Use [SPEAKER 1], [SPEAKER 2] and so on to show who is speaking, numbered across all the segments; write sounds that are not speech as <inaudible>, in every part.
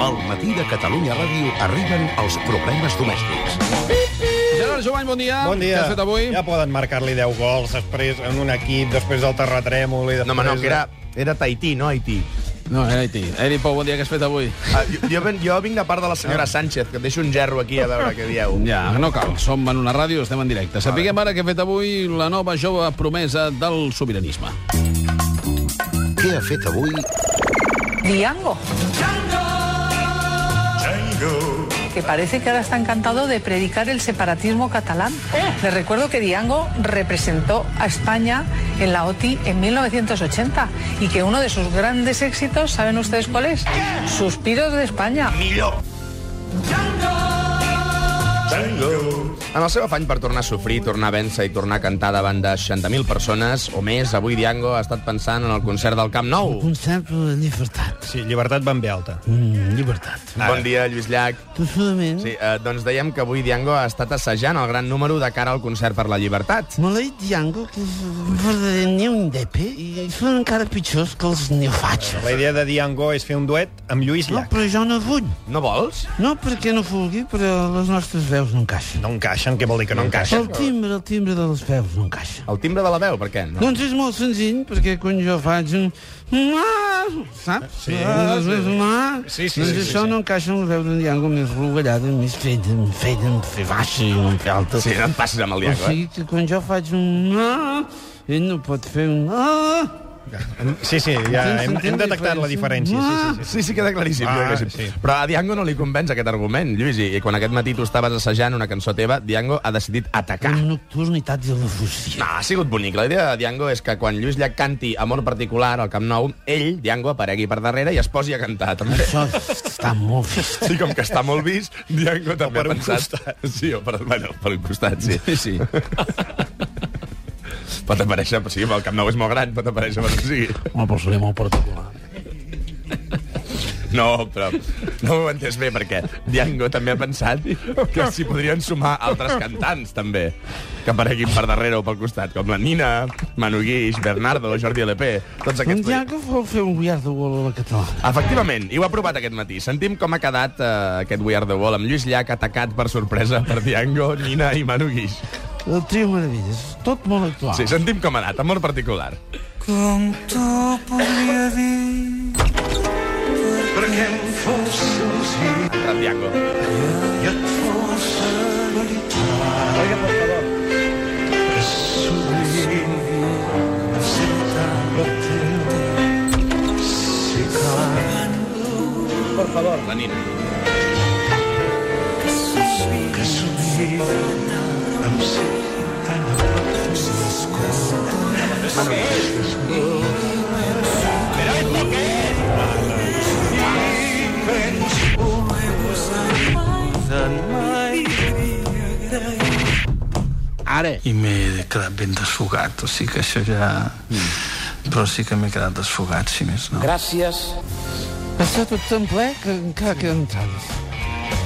[SPEAKER 1] Al matí de Catalunya Ràdio arriben els problemes domèstics.
[SPEAKER 2] Gerard Jovany, bon dia.
[SPEAKER 3] Bon dia.
[SPEAKER 2] Què has fet avui?
[SPEAKER 3] Ja poden marcar-li 10 gols després en un equip, després del terratrèmol... I després
[SPEAKER 4] No, home, no,
[SPEAKER 3] de-
[SPEAKER 4] que era, era Tahití, no Haití.
[SPEAKER 2] No, era Haití. Eri Pou, bon dia, què has fet avui?
[SPEAKER 4] Ah, jo, jo, ven- jo vinc de part de la senyora Sánchez, que et deixo un gerro aquí a veure què dieu.
[SPEAKER 2] Ja, no cal. Som en una ràdio, estem en directe. Sapiguem ara què ha fet avui la nova jove promesa del sobiranisme.
[SPEAKER 1] Què ha fet avui
[SPEAKER 5] Diango, que parece que ahora está encantado de predicar el separatismo catalán. Les recuerdo que Diango representó a España en la OTI en 1980 y que uno de sus grandes éxitos, ¿saben ustedes cuál es? Suspiros de España.
[SPEAKER 4] En el seu afany per tornar a sofrir, tornar a vèncer i tornar a cantar davant de 60.000 persones o més, avui Diango ha estat pensant en el concert del Camp Nou.
[SPEAKER 6] Un sample de llibertat.
[SPEAKER 3] Sí, llibertat van bé alta.
[SPEAKER 6] Mm, llibertat.
[SPEAKER 4] Bon dia, Lluís Llach.
[SPEAKER 6] Profundament.
[SPEAKER 4] Sí, eh, doncs dèiem que avui Diango ha estat assajant el gran número de cara al concert per la llibertat.
[SPEAKER 6] Maleït Django, que és un verdader neondepe, i són encara pitjors que els neofatxos.
[SPEAKER 3] La idea de Diango és fer un duet amb Lluís
[SPEAKER 6] No,
[SPEAKER 3] Llach.
[SPEAKER 6] però jo no vull.
[SPEAKER 4] No vols?
[SPEAKER 6] No perquè no vulgui, però les nostres veus no encaixen.
[SPEAKER 3] No encaixen, què vol dir que no encaixen?
[SPEAKER 6] El timbre, el timbre de les veus no encaixa.
[SPEAKER 4] El timbre de la veu, per què? No.
[SPEAKER 6] Doncs és molt senzill, perquè quan jo faig un... Saps?
[SPEAKER 3] Sí. Sí, sí,
[SPEAKER 6] doncs
[SPEAKER 3] sí, sí,
[SPEAKER 6] això
[SPEAKER 3] sí.
[SPEAKER 6] no encaixa amb la veu d'un diango més rugallada, més feta, feta, feta baixa i un pèl alta.
[SPEAKER 4] Sí, no et passis amb el
[SPEAKER 6] O
[SPEAKER 4] Diango, eh?
[SPEAKER 6] sigui que quan jo faig un... Ah, ell no pot fer un... Ah,
[SPEAKER 3] Sí, sí, ja
[SPEAKER 6] Entens,
[SPEAKER 3] hem, hem
[SPEAKER 6] entens
[SPEAKER 3] detectat la diferència. Sí, sí, sí.
[SPEAKER 4] Sí, sí, queda claríssim.
[SPEAKER 3] Ah,
[SPEAKER 4] queda claríssim.
[SPEAKER 3] sí.
[SPEAKER 4] Però a Diango no li convenç aquest argument, Lluís. I quan aquest matí tu estaves assajant una cançó teva, Diango ha decidit atacar.
[SPEAKER 6] una nocturnitat i la fusió.
[SPEAKER 4] No, ha sigut bonic. La idea de Diango és que quan Lluís Llach canti Amor Particular al Camp Nou, ell, Diango, aparegui per darrere i es posi a cantar, també.
[SPEAKER 6] Això està molt vist.
[SPEAKER 4] Sí, com que està molt vist, Diango també
[SPEAKER 3] per
[SPEAKER 4] ha
[SPEAKER 3] un
[SPEAKER 4] pensat... Costat. Sí, o per, bueno, per un costat, sí.
[SPEAKER 2] sí.
[SPEAKER 4] <laughs> Pot aparèixer, però sí, el Camp Nou és molt gran, pot aparèixer per on sigui.
[SPEAKER 6] Una persona molt particular.
[SPEAKER 4] No, però no ho he entès bé, perquè Diango també ha pensat que s'hi podrien sumar altres cantants, també, que apareguin per darrere o pel costat, com la Nina, Manu Guix, Bernardo, Jordi LP, tots
[SPEAKER 6] Un
[SPEAKER 4] aquests...
[SPEAKER 6] dia que vol fer un We Are the Wall a la catalana.
[SPEAKER 4] Efectivament, i ho ha provat aquest matí. Sentim com ha quedat eh, aquest We Are The Wall amb Lluís Llach atacat per sorpresa per Diango, Nina i Manu Guix.
[SPEAKER 6] El trio Meravilles, tot molt actual.
[SPEAKER 4] Sí, sentim com ha anat, amor particular.
[SPEAKER 7] Com t'ho podria dir?
[SPEAKER 4] Rap Diango. La Nina.
[SPEAKER 2] Ara.
[SPEAKER 7] I m'he quedat ben desfogat, o sigui que això ja... Mm. Però sí que m'he quedat desfogat, si més no. Gràcies.
[SPEAKER 6] Està tot tan ple que encara queden entrades.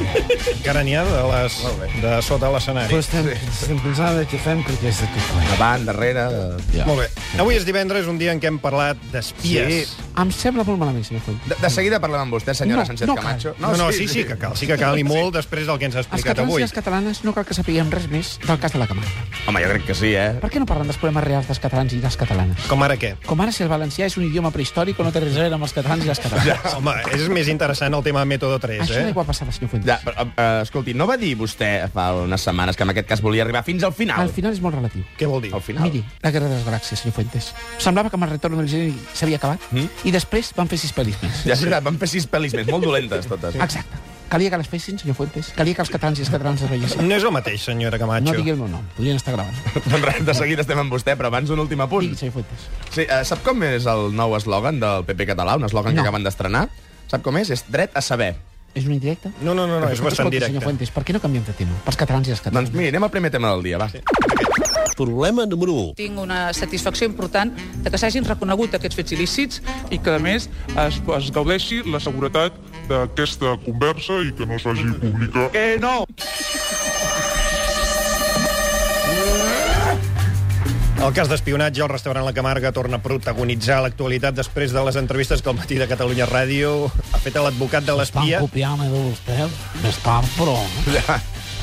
[SPEAKER 3] Encara n'hi ha de, les, de sota l'escenari.
[SPEAKER 6] Però estem, estem pensant de què fem perquè és aquest ple.
[SPEAKER 4] Davant, darrere... eh, Ja.
[SPEAKER 3] Molt bé. Avui és divendres, un dia en què hem parlat d'espies.
[SPEAKER 4] Sí.
[SPEAKER 6] Em sembla molt malament, senyor Coll.
[SPEAKER 4] De, de seguida parlem amb vostè, senyora
[SPEAKER 6] No,
[SPEAKER 4] Sánchez
[SPEAKER 6] no cal.
[SPEAKER 4] Camacho.
[SPEAKER 3] No, no, sí, sí que cal, sí que cal, i molt després del que ens ha
[SPEAKER 8] Els
[SPEAKER 3] explicat
[SPEAKER 8] catalans i
[SPEAKER 3] avui.
[SPEAKER 8] les catalanes no cal que sapiguem res més del cas de la Camarga.
[SPEAKER 4] Home, jo crec que sí, eh?
[SPEAKER 8] Per què no parlen dels problemes reals dels catalans i les catalanes?
[SPEAKER 3] Com ara què?
[SPEAKER 8] Com ara si el valencià és un idioma prehistòric o no té res a veure amb els catalans i les catalanes.
[SPEAKER 3] Home, és més interessant el tema Método 3,
[SPEAKER 8] Això
[SPEAKER 3] eh?
[SPEAKER 8] no hi pot passar, senyor Fuentes.
[SPEAKER 4] Ja, però, eh, escolti, no va dir vostè fa unes setmanes que en aquest cas volia arribar fins al final?
[SPEAKER 8] Al final és molt relatiu.
[SPEAKER 3] Què vol dir?
[SPEAKER 4] Al final.
[SPEAKER 8] Miri, la Guerra de les Galàxies, senyor Fuentes. Semblava que amb el retorn del geni s'havia acabat
[SPEAKER 4] Mm.
[SPEAKER 8] i després van fer sis pel·lis més.
[SPEAKER 4] Ja és veritat, van fer sis pel·lis més, molt dolentes totes.
[SPEAKER 8] Exacte. Calia que les fessin, senyor Fuentes. Calia que els catalans i les catalanes les veiessin.
[SPEAKER 3] No és el mateix, senyora
[SPEAKER 8] No
[SPEAKER 3] Camacho.
[SPEAKER 8] digui el meu nom, podrien estar <laughs> gravant.
[SPEAKER 4] Doncs res, de seguida estem amb vostè, però abans un últim apunt.
[SPEAKER 8] Digui, senyor Fuentes.
[SPEAKER 4] Sí, eh, sap com és el nou eslògan del PP català, un eslògan
[SPEAKER 8] No.
[SPEAKER 4] que acaben d'estrenar? Sap com és? És dret a saber.
[SPEAKER 8] És un indirecte?
[SPEAKER 3] No, no, no, no és bastant
[SPEAKER 8] Escolti, Senyor
[SPEAKER 3] directe.
[SPEAKER 8] Fuentes, per què no canviem de tema? Pels catalans i les
[SPEAKER 4] Doncs
[SPEAKER 8] catalanes.
[SPEAKER 4] mira, anem al primer tema del dia, va. Sí.
[SPEAKER 1] Problema número 1.
[SPEAKER 9] tinc una satisfacció important de que s'hagin reconegut aquests fets il·lícits
[SPEAKER 10] i que, a més, es, es gaudeixi la seguretat d'aquesta conversa i que no s'hagi publicat. Que no!
[SPEAKER 3] El cas d'espionatge al restaurant La Camarga torna a protagonitzar l'actualitat després de les entrevistes que el matí de Catalunya Ràdio ha fet a l'advocat de l'espia.
[SPEAKER 11] Van copiar-me de vostè més tard, però... eh?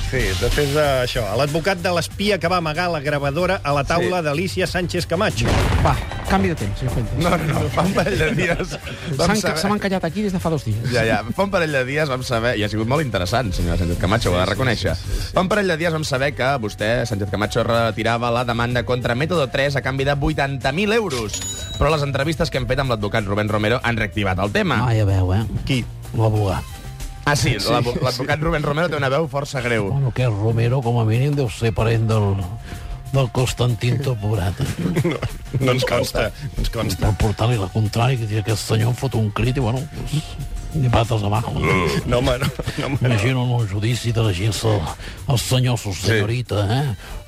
[SPEAKER 3] Sí, eh, després d'això. A l'advocat de l'espia que va amagar la gravadora a la taula sí. d'Alicia Sánchez Camacho.
[SPEAKER 8] Va, canvi de temps, senyor Fuentes.
[SPEAKER 4] No, no, no, fa un parell de dies vam
[SPEAKER 8] S'han se
[SPEAKER 4] saber...
[SPEAKER 8] m'han callat aquí des de fa dos dies.
[SPEAKER 4] Ja, ja. Fa un parell de dies vam saber... I ha sigut molt interessant, senyora Sánchez Camacho, ho he de reconèixer. Fa un parell de dies vam saber que vostè, Sánchez Camacho, retirava la demanda contra Método 3 a canvi de 80.000 euros. Però les entrevistes que hem fet amb l'advocat Rubén Romero han reactivat el tema.
[SPEAKER 11] Ah, ja veu, eh?
[SPEAKER 3] Qui?
[SPEAKER 11] L'abogat.
[SPEAKER 4] Ah, sí, l'advo- l'advocat Rubén Romero té una veu força greu.
[SPEAKER 11] Bueno, que el Romero, com a mínim, deu ser parent del,
[SPEAKER 8] <laughs>
[SPEAKER 11] del eh? Constantin Toporata.
[SPEAKER 3] No, no
[SPEAKER 4] Doncs
[SPEAKER 3] ens consta. No ens consta.
[SPEAKER 11] Per portar-li la contrària, que diria que el senyor fot un crit i, bueno, pues, ni patas abajo.
[SPEAKER 3] No, home, no, no, home, no.
[SPEAKER 11] Imagino en un judici de la gent el, el senyor, su senyorita, eh?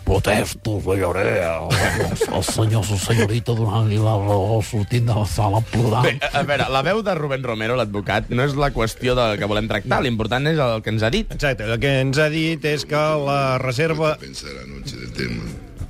[SPEAKER 11] Protestos, la llorea, el, el senyor, su senyorita, donant-li la raó, sortint de la sala
[SPEAKER 4] Bé,
[SPEAKER 11] plorant.
[SPEAKER 4] a a veure, la veu de Rubén Romero, l'advocat, no és la qüestió del que volem tractar, l'important és el que ens ha dit.
[SPEAKER 3] Exacte, el que ens ha dit és que la reserva...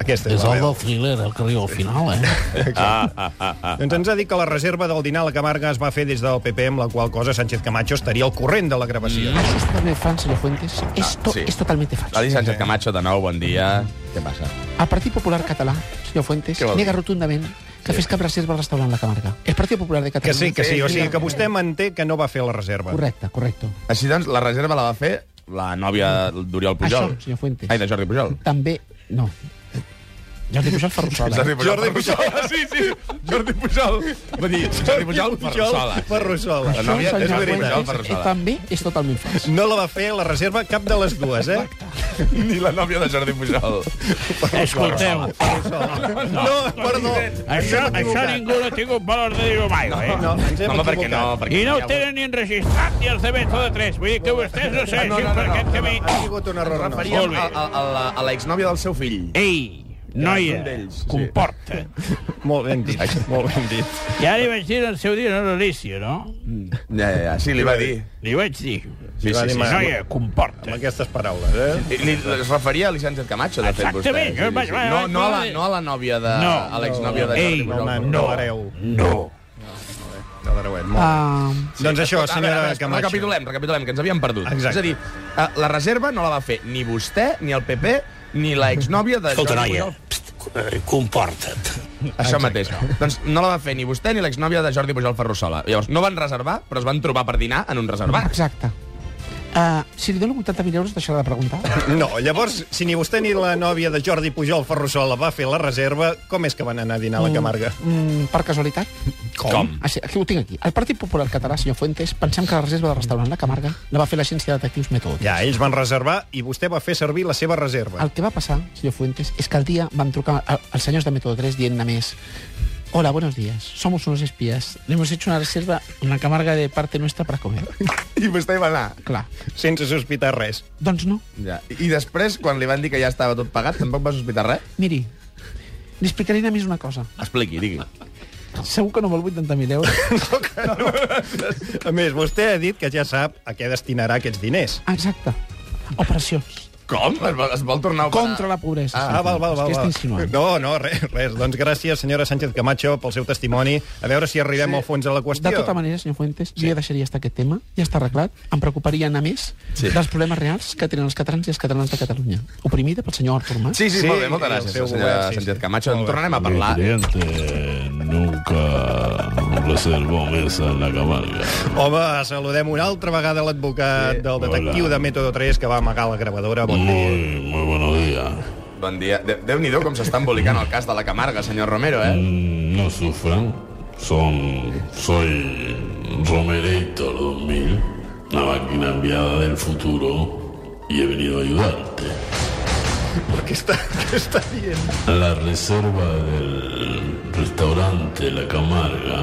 [SPEAKER 3] Aquesta és
[SPEAKER 11] És
[SPEAKER 3] la
[SPEAKER 11] el
[SPEAKER 3] veu.
[SPEAKER 11] del thriller, el que arriba al final, eh?
[SPEAKER 3] Doncs ens ha dit que la reserva del dinar a la Camarga es va fer des del PP, amb la qual cosa Sánchez Camacho estaria al corrent de la gravació.
[SPEAKER 8] Això és també fals, senyor Fuentes. Esto
[SPEAKER 4] sí.
[SPEAKER 8] es totalmente falso.
[SPEAKER 4] Lali Sánchez Camacho, de nou, bon dia. Què passa?
[SPEAKER 8] El Partit Popular Català, senyor Fuentes,
[SPEAKER 4] Què vol dir?
[SPEAKER 8] nega rotundament que fes cap reserva al restaurant La Camarga. El Partit Popular de
[SPEAKER 3] Que
[SPEAKER 8] Catalunya...
[SPEAKER 3] sí, que sí, o sigui que vostè manté que no va fer la reserva.
[SPEAKER 8] Correcte, correcte.
[SPEAKER 4] Així doncs, la reserva la va fer la nòvia d'Oriol Pujol.
[SPEAKER 8] Això, senyor Fuentes.
[SPEAKER 4] Ai, de Jordi Pujol.
[SPEAKER 8] També... No. Jordi Pujol eh? Ferrusola.
[SPEAKER 4] Jordi Pujol. Jordi Pujol. Sí, sí, Jordi Pujol. Va dir, Jordi Pujol, Ferrusola.
[SPEAKER 3] Ferrusola.
[SPEAKER 4] La nòvia
[SPEAKER 8] Això,
[SPEAKER 4] és
[SPEAKER 8] senyor
[SPEAKER 4] Jordi Pujol,
[SPEAKER 8] Fuentes, eh,
[SPEAKER 4] Ferrusola.
[SPEAKER 8] també és totalment fals.
[SPEAKER 3] No la va fer la reserva cap de les dues, eh?
[SPEAKER 4] Ni la nòvia de Jordi Pujol.
[SPEAKER 11] Escolteu,
[SPEAKER 3] No, perdó.
[SPEAKER 11] això, això ningú no ha tingut valor de dir-ho mai, eh?
[SPEAKER 3] No, ens hem
[SPEAKER 4] Home, per què no?
[SPEAKER 3] equivocat.
[SPEAKER 4] Perquè
[SPEAKER 11] I no
[SPEAKER 4] hi ha-
[SPEAKER 11] ho tenen ni enregistrat ni els de Beto de 3. Vull dir que vostès no
[SPEAKER 4] Ah,
[SPEAKER 11] segueixin
[SPEAKER 4] no, no,
[SPEAKER 11] per
[SPEAKER 4] no.
[SPEAKER 11] aquest camí.
[SPEAKER 3] Ha sigut un error.
[SPEAKER 4] Em
[SPEAKER 3] no.
[SPEAKER 4] referia
[SPEAKER 11] Molt bé.
[SPEAKER 4] a, a, a, la, a l'exnòvia del seu fill.
[SPEAKER 11] Ei,
[SPEAKER 4] un
[SPEAKER 11] noia,
[SPEAKER 4] d'ells, sí.
[SPEAKER 11] comporta.
[SPEAKER 3] Molt ben dit, molt ben dit.
[SPEAKER 11] Ja li vaig dir en el seu dia, no l'Alícia, no?
[SPEAKER 4] Ja, ja, ja. Sí, li va dir.
[SPEAKER 11] Li vaig dir,
[SPEAKER 4] Sí, sí, sí.
[SPEAKER 11] noia, comporta.
[SPEAKER 3] Amb aquestes paraules, eh?
[SPEAKER 4] Li, es referia a Lisànchez Camacho, de fet, vostè.
[SPEAKER 11] Exactament, jo vaig-
[SPEAKER 4] Sí, sí. No, no, a la, no a la nòvia de...
[SPEAKER 11] No.
[SPEAKER 4] a l'exnòvia de Jordi
[SPEAKER 11] Ei,
[SPEAKER 4] Pujol.
[SPEAKER 3] No, home, no l'hereu.
[SPEAKER 11] No.
[SPEAKER 3] No l'hereu, molt.
[SPEAKER 8] Ah,
[SPEAKER 3] Doncs això,
[SPEAKER 4] Escolta, a veure, a
[SPEAKER 3] senyora
[SPEAKER 4] veure,
[SPEAKER 3] Camacho.
[SPEAKER 4] Recapitulem, recapitulem, que ens havíem perdut.
[SPEAKER 3] Exacte.
[SPEAKER 4] És a dir, eh, la reserva no la va fer ni vostè, ni el PP, ni l'exnòvia de
[SPEAKER 12] Escolta,
[SPEAKER 4] Jordi
[SPEAKER 12] noia,
[SPEAKER 4] Pujol.
[SPEAKER 12] pst, eh, comporta't.
[SPEAKER 4] Això mateix. Doncs no la va fer ni vostè ni l'exnòvia de Jordi Pujol Ferrusola. Llavors, no van reservar, però es van trobar per dinar en un reservat.
[SPEAKER 8] exacte. Uh, si li dono 80.000 euros, deixarà de preguntar?
[SPEAKER 3] No, llavors, si ni vostè ni la nòvia de Jordi Pujol Ferrusola va fer la reserva, com és que van anar a dinar a la Camarga?
[SPEAKER 8] Mm, per casualitat?
[SPEAKER 4] Com?
[SPEAKER 8] Així, aquí ho tinc aquí. El Partit Popular Català, senyor Fuentes, pensem que la reserva del restaurant La Camarga la va fer l'agència de detectius Método.
[SPEAKER 3] Ja, ells van reservar i vostè va fer servir la seva reserva.
[SPEAKER 8] El que va passar, senyor Fuentes, és que al dia van trucar a- als senyors de Método 3 dient a més Hola, buenos días. Somos unos espías. Hemos hecho una reserva en la camarga de parte nuestra para comer.
[SPEAKER 4] <laughs> I vostè hi va anar.
[SPEAKER 8] Clar.
[SPEAKER 3] Sense sospitar res.
[SPEAKER 8] Doncs no.
[SPEAKER 4] Ja. I després, quan li van dir que ja estava tot pagat, tampoc va sospitar res?
[SPEAKER 8] Miri, li explicaré a més una cosa.
[SPEAKER 4] Expliqui, digui.
[SPEAKER 8] Segur que no vol 80.000 euros.
[SPEAKER 3] A més, vostè ha dit que ja sap a què destinarà aquests diners.
[SPEAKER 8] Exacte. Operacions.
[SPEAKER 4] Com? Es vol, es vol tornar a operar?
[SPEAKER 8] Contra la pobresa.
[SPEAKER 3] Ah,
[SPEAKER 8] senyor
[SPEAKER 3] val, val,
[SPEAKER 8] Fuentes.
[SPEAKER 3] val.
[SPEAKER 8] Què està
[SPEAKER 3] val.
[SPEAKER 8] insinuant?
[SPEAKER 3] No, no, res, res. Doncs gràcies, senyora Sánchez Camacho, pel seu testimoni. A veure si arribem sí. al fons de la qüestió.
[SPEAKER 8] De tota manera, senyor Fuentes, sí. jo ja deixaria estar aquest tema, ja està arreglat, em preocuparia anar més sí. dels problemes reals que tenen els catalans i els catalans de Catalunya. Oprimida pel senyor Artur Mas.
[SPEAKER 4] Sí, sí,
[SPEAKER 3] Sí,
[SPEAKER 4] sí, molt bé,
[SPEAKER 3] i
[SPEAKER 4] moltes
[SPEAKER 3] el
[SPEAKER 4] gràcies,
[SPEAKER 3] seu
[SPEAKER 4] senyora
[SPEAKER 3] govern, sí,
[SPEAKER 4] Sánchez
[SPEAKER 3] sí.
[SPEAKER 4] Camacho. En
[SPEAKER 3] Molt bé.
[SPEAKER 4] tornarem a parlar.
[SPEAKER 12] cliente nunca reservó mesa en la camarga.
[SPEAKER 3] Home, saludem una altra vegada l'advocat sí. del detectiu de Método 3 que va amagar la gravadora. Bon dia.
[SPEAKER 12] muy buenos días.
[SPEAKER 4] Bon dia. De- Déu-n'hi-do com s'està embolicant el cas de la Camarga, senyor Romero, eh?
[SPEAKER 12] No sufran, son, soy Romerator 2000, una máquina enviada del futuro y he venido a ayudarte.
[SPEAKER 3] Què està, què està dient?
[SPEAKER 12] La reserva del restaurante La Camarga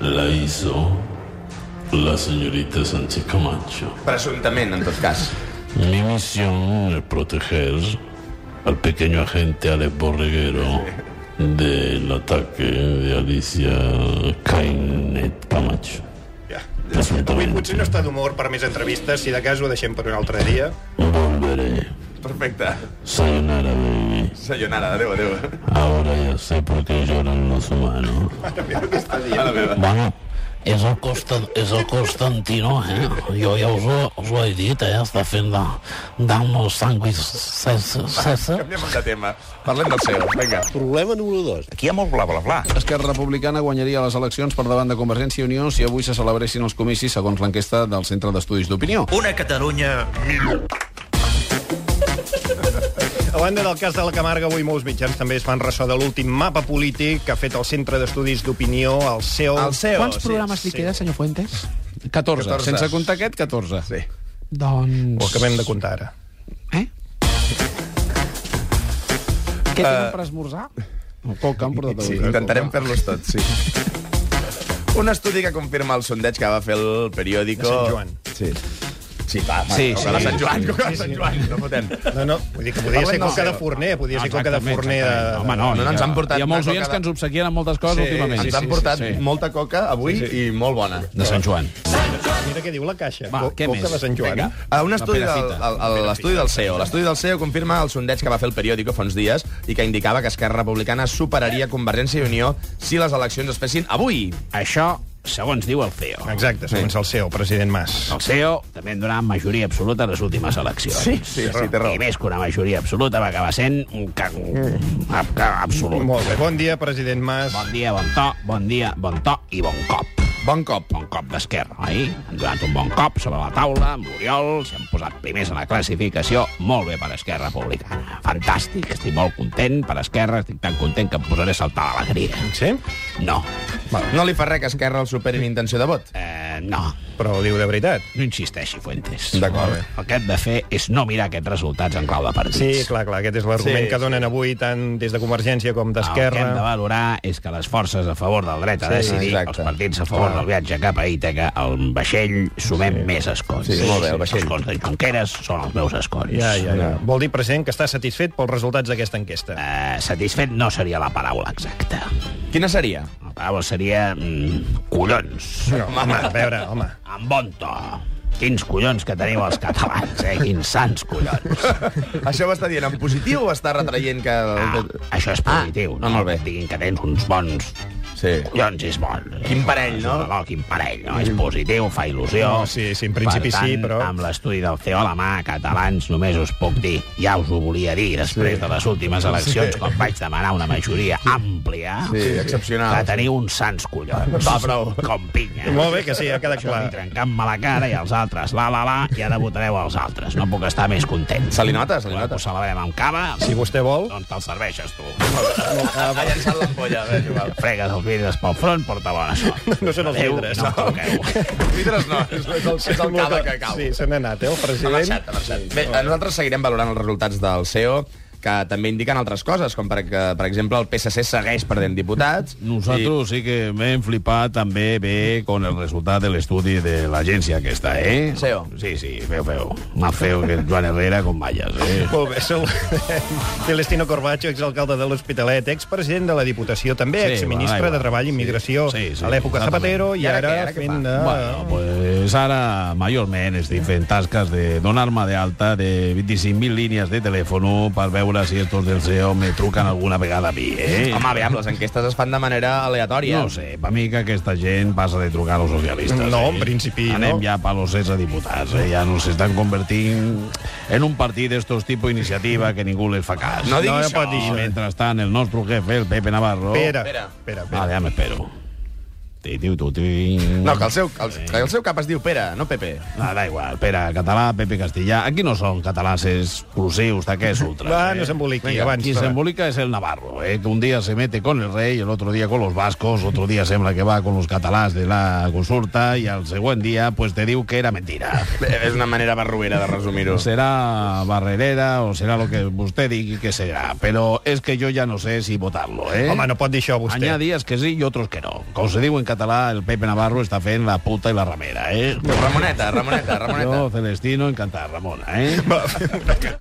[SPEAKER 12] la hizo la señorita Sánchez Camacho.
[SPEAKER 4] Presumptament, en tot cas.
[SPEAKER 12] Mi misión es proteger al pequeño agente Alex Borreguero del ataque de Alicia Kainet Camacho.
[SPEAKER 3] Ja. Avui
[SPEAKER 12] Presuntamente.
[SPEAKER 3] potser no està d'humor per més entrevistes, si de cas ho deixem per un altre dia.
[SPEAKER 12] Volveré.
[SPEAKER 4] Perfecte.
[SPEAKER 12] Sayonara, baby.
[SPEAKER 4] Sayonara, adéu, adéu.
[SPEAKER 12] Ahora ya sé por qué lloran los humanos.
[SPEAKER 11] Bueno, és el, Constan és el Constantino, eh? Jo ja us ho, us ho he dit, eh? Està fent de Dano Sanguis César.
[SPEAKER 4] Canviem de tema. Parlem del seu, vinga.
[SPEAKER 1] Problema número 2. Aquí hi ha molt bla, bla, bla. Esquerra Republicana guanyaria les eleccions per davant de Convergència i Unió si avui se celebressin els comicis segons l'enquesta del Centre d'Estudis d'Opinió.
[SPEAKER 13] Una Catalunya millor.
[SPEAKER 3] A banda del cas de la Camarga, avui molts mitjans també es fan ressò de l'últim mapa polític que ha fet el Centre d'Estudis d'Opinió, el E CEO. El
[SPEAKER 4] oh,
[SPEAKER 8] Quants programes li queda, senyor Fuentes?
[SPEAKER 1] 14.
[SPEAKER 3] 14.
[SPEAKER 1] 14. Sense comptar aquest, 14.
[SPEAKER 4] Sí.
[SPEAKER 8] Doncs... eh?
[SPEAKER 3] Ho
[SPEAKER 4] Oh,
[SPEAKER 3] acabem de comptar ara.
[SPEAKER 8] Què tenen
[SPEAKER 4] Eh,
[SPEAKER 8] per esmorzar?
[SPEAKER 1] Coca, han portat
[SPEAKER 4] Sí,
[SPEAKER 1] avui.
[SPEAKER 4] intentarem fer-los tots, sí. Un estudi que confirma el sondeig que va fer el periòdico...
[SPEAKER 3] De Sant Joan.
[SPEAKER 4] Sí. Sí, va, va
[SPEAKER 3] Sí, sí.
[SPEAKER 4] sí, sí. Sant Joan, Coca de Sant Joan, no fotem.
[SPEAKER 3] No, no, vull dir que podria ser
[SPEAKER 4] Parlem del
[SPEAKER 3] coca de
[SPEAKER 4] seu.
[SPEAKER 3] forner, podria
[SPEAKER 4] Ah,
[SPEAKER 3] ser coca de
[SPEAKER 1] Exactament,
[SPEAKER 3] forner de...
[SPEAKER 1] exactament. Home, no,
[SPEAKER 4] No, no ens han portat
[SPEAKER 1] Hi ha molts
[SPEAKER 4] una
[SPEAKER 1] oients
[SPEAKER 4] coca
[SPEAKER 1] que ens obsequien amb moltes coses
[SPEAKER 4] Sí,
[SPEAKER 1] últimament.
[SPEAKER 4] ens han portat molta coca avui
[SPEAKER 1] Sí,
[SPEAKER 4] sí, sí. i molt bona.
[SPEAKER 1] De Sant Joan.
[SPEAKER 3] Mira què diu la caixa.
[SPEAKER 4] Va,
[SPEAKER 3] Co-
[SPEAKER 4] què
[SPEAKER 3] coca
[SPEAKER 4] més?
[SPEAKER 3] de Sant Joan.
[SPEAKER 4] Vinga. A Eh, un
[SPEAKER 1] Una
[SPEAKER 4] estudi del,
[SPEAKER 1] pedacita.
[SPEAKER 4] al- a l'estudi del CEO. L'estudi del CEO confirma el sondeig que va fer el periòdico fa uns dies i que indicava que Esquerra Republicana superaria Convergència i Unió si les eleccions es fessin avui.
[SPEAKER 1] Això, segons diu el CEO.
[SPEAKER 3] Exacte, segons el seu, president Mas.
[SPEAKER 1] El CEO també en donava majoria absoluta a les últimes eleccions.
[SPEAKER 4] Sí, sí, sí, té raó.
[SPEAKER 1] I més que una majoria absoluta va acabar sent un cago ab- ca- absolut.
[SPEAKER 3] Molt bé. Bon dia, president Mas.
[SPEAKER 1] Bon dia, bon to, bon dia, bon to i bon cop.
[SPEAKER 4] Bon cop.
[SPEAKER 1] Bon cop d'esquerra, oi? Han donat un bon cop sobre la taula, amb l'Oriol, s'han posat primers a la classificació, molt bé per Esquerra Republicana. Fantàstic, estic molt content per Esquerra, estic tan content que em posaré a saltar d'alegria.
[SPEAKER 3] Sí?
[SPEAKER 1] No,
[SPEAKER 4] No li fa res que Esquerra el superi en intenció de vot.
[SPEAKER 1] eh, no,
[SPEAKER 3] Però ho diu de veritat.
[SPEAKER 1] no insisteixi, Fuentes.
[SPEAKER 4] D'acord.
[SPEAKER 1] El que hem de fer és no mirar aquests resultats en clau de partits.
[SPEAKER 3] Sí, clar, clar, aquest és l'argument
[SPEAKER 4] Sí, Ah,
[SPEAKER 3] que donen avui tant des de Convergència com
[SPEAKER 1] El que hem de
[SPEAKER 3] d'Esquerra.
[SPEAKER 1] valorar és que les forces a favor del dret a
[SPEAKER 4] Sí,
[SPEAKER 1] decidir,
[SPEAKER 4] exacte.
[SPEAKER 1] els partits a favor del viatge cap a Ítaca, el vaixell, sumem més escons.
[SPEAKER 4] Sí, molt bé, el vaixell.
[SPEAKER 1] Els escons de Junqueras són els meus escons.
[SPEAKER 3] Ja, ja, ja. Vol dir, president, que està satisfet pels resultats d'aquesta enquesta.
[SPEAKER 4] Ah.
[SPEAKER 1] Eh, satisfet no seria la paraula exacta.
[SPEAKER 4] Quina seria?
[SPEAKER 1] La paraula seria... Mm, collons.
[SPEAKER 3] Home, a veure, home.
[SPEAKER 1] Amb bon to. Quins collons que teniu els catalans, eh? Quins sants collons.
[SPEAKER 4] Això ho està dient en positiu o està retraient que...
[SPEAKER 1] Ah, això és positiu,
[SPEAKER 4] ah,
[SPEAKER 1] no?
[SPEAKER 4] molt bé.
[SPEAKER 1] Diguin que tens uns bons
[SPEAKER 4] Sí.
[SPEAKER 1] Collons, és bon.
[SPEAKER 4] Quin parell, no?
[SPEAKER 1] no? Quin parell, no? És positiu, fa il·lusió.
[SPEAKER 3] No, sí, sí, en principi
[SPEAKER 1] per tant,
[SPEAKER 3] sí, però-
[SPEAKER 1] amb l'estudi del CEO a la mà, catalans, només us puc dir, ja us ho volia dir després sí. de les últimes eleccions, sí. quan vaig demanar una majoria àmplia,
[SPEAKER 4] Sí, sí, excepcional.
[SPEAKER 1] que teniu uns sants collons. Va, prou. Com pinya.
[SPEAKER 3] Molt bé, que sí, ha quedat clar.
[SPEAKER 1] I trencant-me la cara i els altres, la, la, la, i ara votareu els altres. No puc estar més content.
[SPEAKER 4] Se li nota, se li
[SPEAKER 1] Bueno,
[SPEAKER 4] nota.
[SPEAKER 1] Ho celebrem amb cava.
[SPEAKER 3] Si vostè vol...
[SPEAKER 4] Doncs,
[SPEAKER 1] On te'l serveixes, tu?
[SPEAKER 4] Ha llançat l'ampolla, bé, igual.
[SPEAKER 1] Fregues els vidres pel front, porta bona
[SPEAKER 4] doncs,
[SPEAKER 1] sort.
[SPEAKER 3] No són els
[SPEAKER 1] Adéu,
[SPEAKER 3] vidres,
[SPEAKER 1] No,
[SPEAKER 3] no.
[SPEAKER 1] em toqueu.
[SPEAKER 4] Vidres no, és el, és el cava que cau.
[SPEAKER 3] Sí, se n'ha anat, eh, el
[SPEAKER 4] Ha
[SPEAKER 3] president.
[SPEAKER 4] marxat, ha marxat. Bé, eh, nosaltres seguirem valorant els resultats del CEO, que també indiquen altres coses, com per, que, per exemple el PSC segueix perdent diputats.
[SPEAKER 1] Nosaltres sí que m'hem flipat també bé con el resultat de l'estudi de l'agència aquesta, eh?
[SPEAKER 4] Seu.
[SPEAKER 1] Sí, sí, feu, feu. Más feo que Joan Herrera con vallas, eh?
[SPEAKER 3] Molt bé, sou <laughs> Celestino Corbacho, exalcalde de l'Hospitalet, expresident de la Diputació, també
[SPEAKER 1] Sí,
[SPEAKER 3] exministre
[SPEAKER 1] va,
[SPEAKER 3] de Treball i Immigració
[SPEAKER 1] Sí, sí,
[SPEAKER 3] a l'època
[SPEAKER 1] exactament.
[SPEAKER 3] Zapatero i
[SPEAKER 4] I ara
[SPEAKER 3] ara
[SPEAKER 4] què, ara què
[SPEAKER 3] fent
[SPEAKER 4] fa?
[SPEAKER 3] de...
[SPEAKER 1] Bueno, pues ara majorment estic fent tasques de donar-me de alta de 25.000 línies de telèfon per veure si estos del CEO me truquen alguna vegada a mi, eh?
[SPEAKER 4] Home, aviam, les enquestes es fan de manera aleatòria.
[SPEAKER 1] No ho sé, per mi que aquesta gent passa de trucar als socialistes. eh?
[SPEAKER 3] No, en principi,
[SPEAKER 1] Anem
[SPEAKER 3] no.
[SPEAKER 1] ja per als 16 diputats, eh? ja no s'estan convertint en un partit d'estos tipus d'iniciativa que ningú les fa cas.
[SPEAKER 4] No digui això.
[SPEAKER 1] pot dir I mentrestant, el nostre jefe, el Pepe Navarro...
[SPEAKER 3] Espera,
[SPEAKER 4] Espera.
[SPEAKER 3] espera,
[SPEAKER 1] Ah,
[SPEAKER 3] espera.
[SPEAKER 1] ja m'espero. Ti, ti, tu, ti.
[SPEAKER 4] No, que el seu, el, que el seu cap es diu Pere, no Pepe.
[SPEAKER 1] Ah, da igual, Pere Català, Pepe Castellà... Aquí no són catalans exclusius
[SPEAKER 3] <laughs>
[SPEAKER 1] d'aquests ultras.
[SPEAKER 3] Va,
[SPEAKER 1] eh?
[SPEAKER 3] no s'emboliqui,
[SPEAKER 1] Venga,
[SPEAKER 3] abans.
[SPEAKER 1] Quien se
[SPEAKER 3] va.
[SPEAKER 1] embolica es el Navarro, eh, que un día se mete con el rey, el otro día con los vascos, otro día sembla que va con los catalans de la consulta y al següent dia pues te diu que era mentira.
[SPEAKER 4] Eh, És una manera barruera de resumir-ho.
[SPEAKER 1] Será barrerera o será lo que usted diga que será, pero es que yo ya no sé si votarlo, ¿eh?
[SPEAKER 3] Home, no pot dir això,
[SPEAKER 1] Hi
[SPEAKER 3] vostè.
[SPEAKER 1] ha dies que sí i otros que no. Com se diu en català, el Pepe Navarro està fent la puta i la ramera, eh?
[SPEAKER 4] Ramoneta, Ramoneta, Ramoneta.
[SPEAKER 1] Jo, Celestino, encantat, Ramona, eh?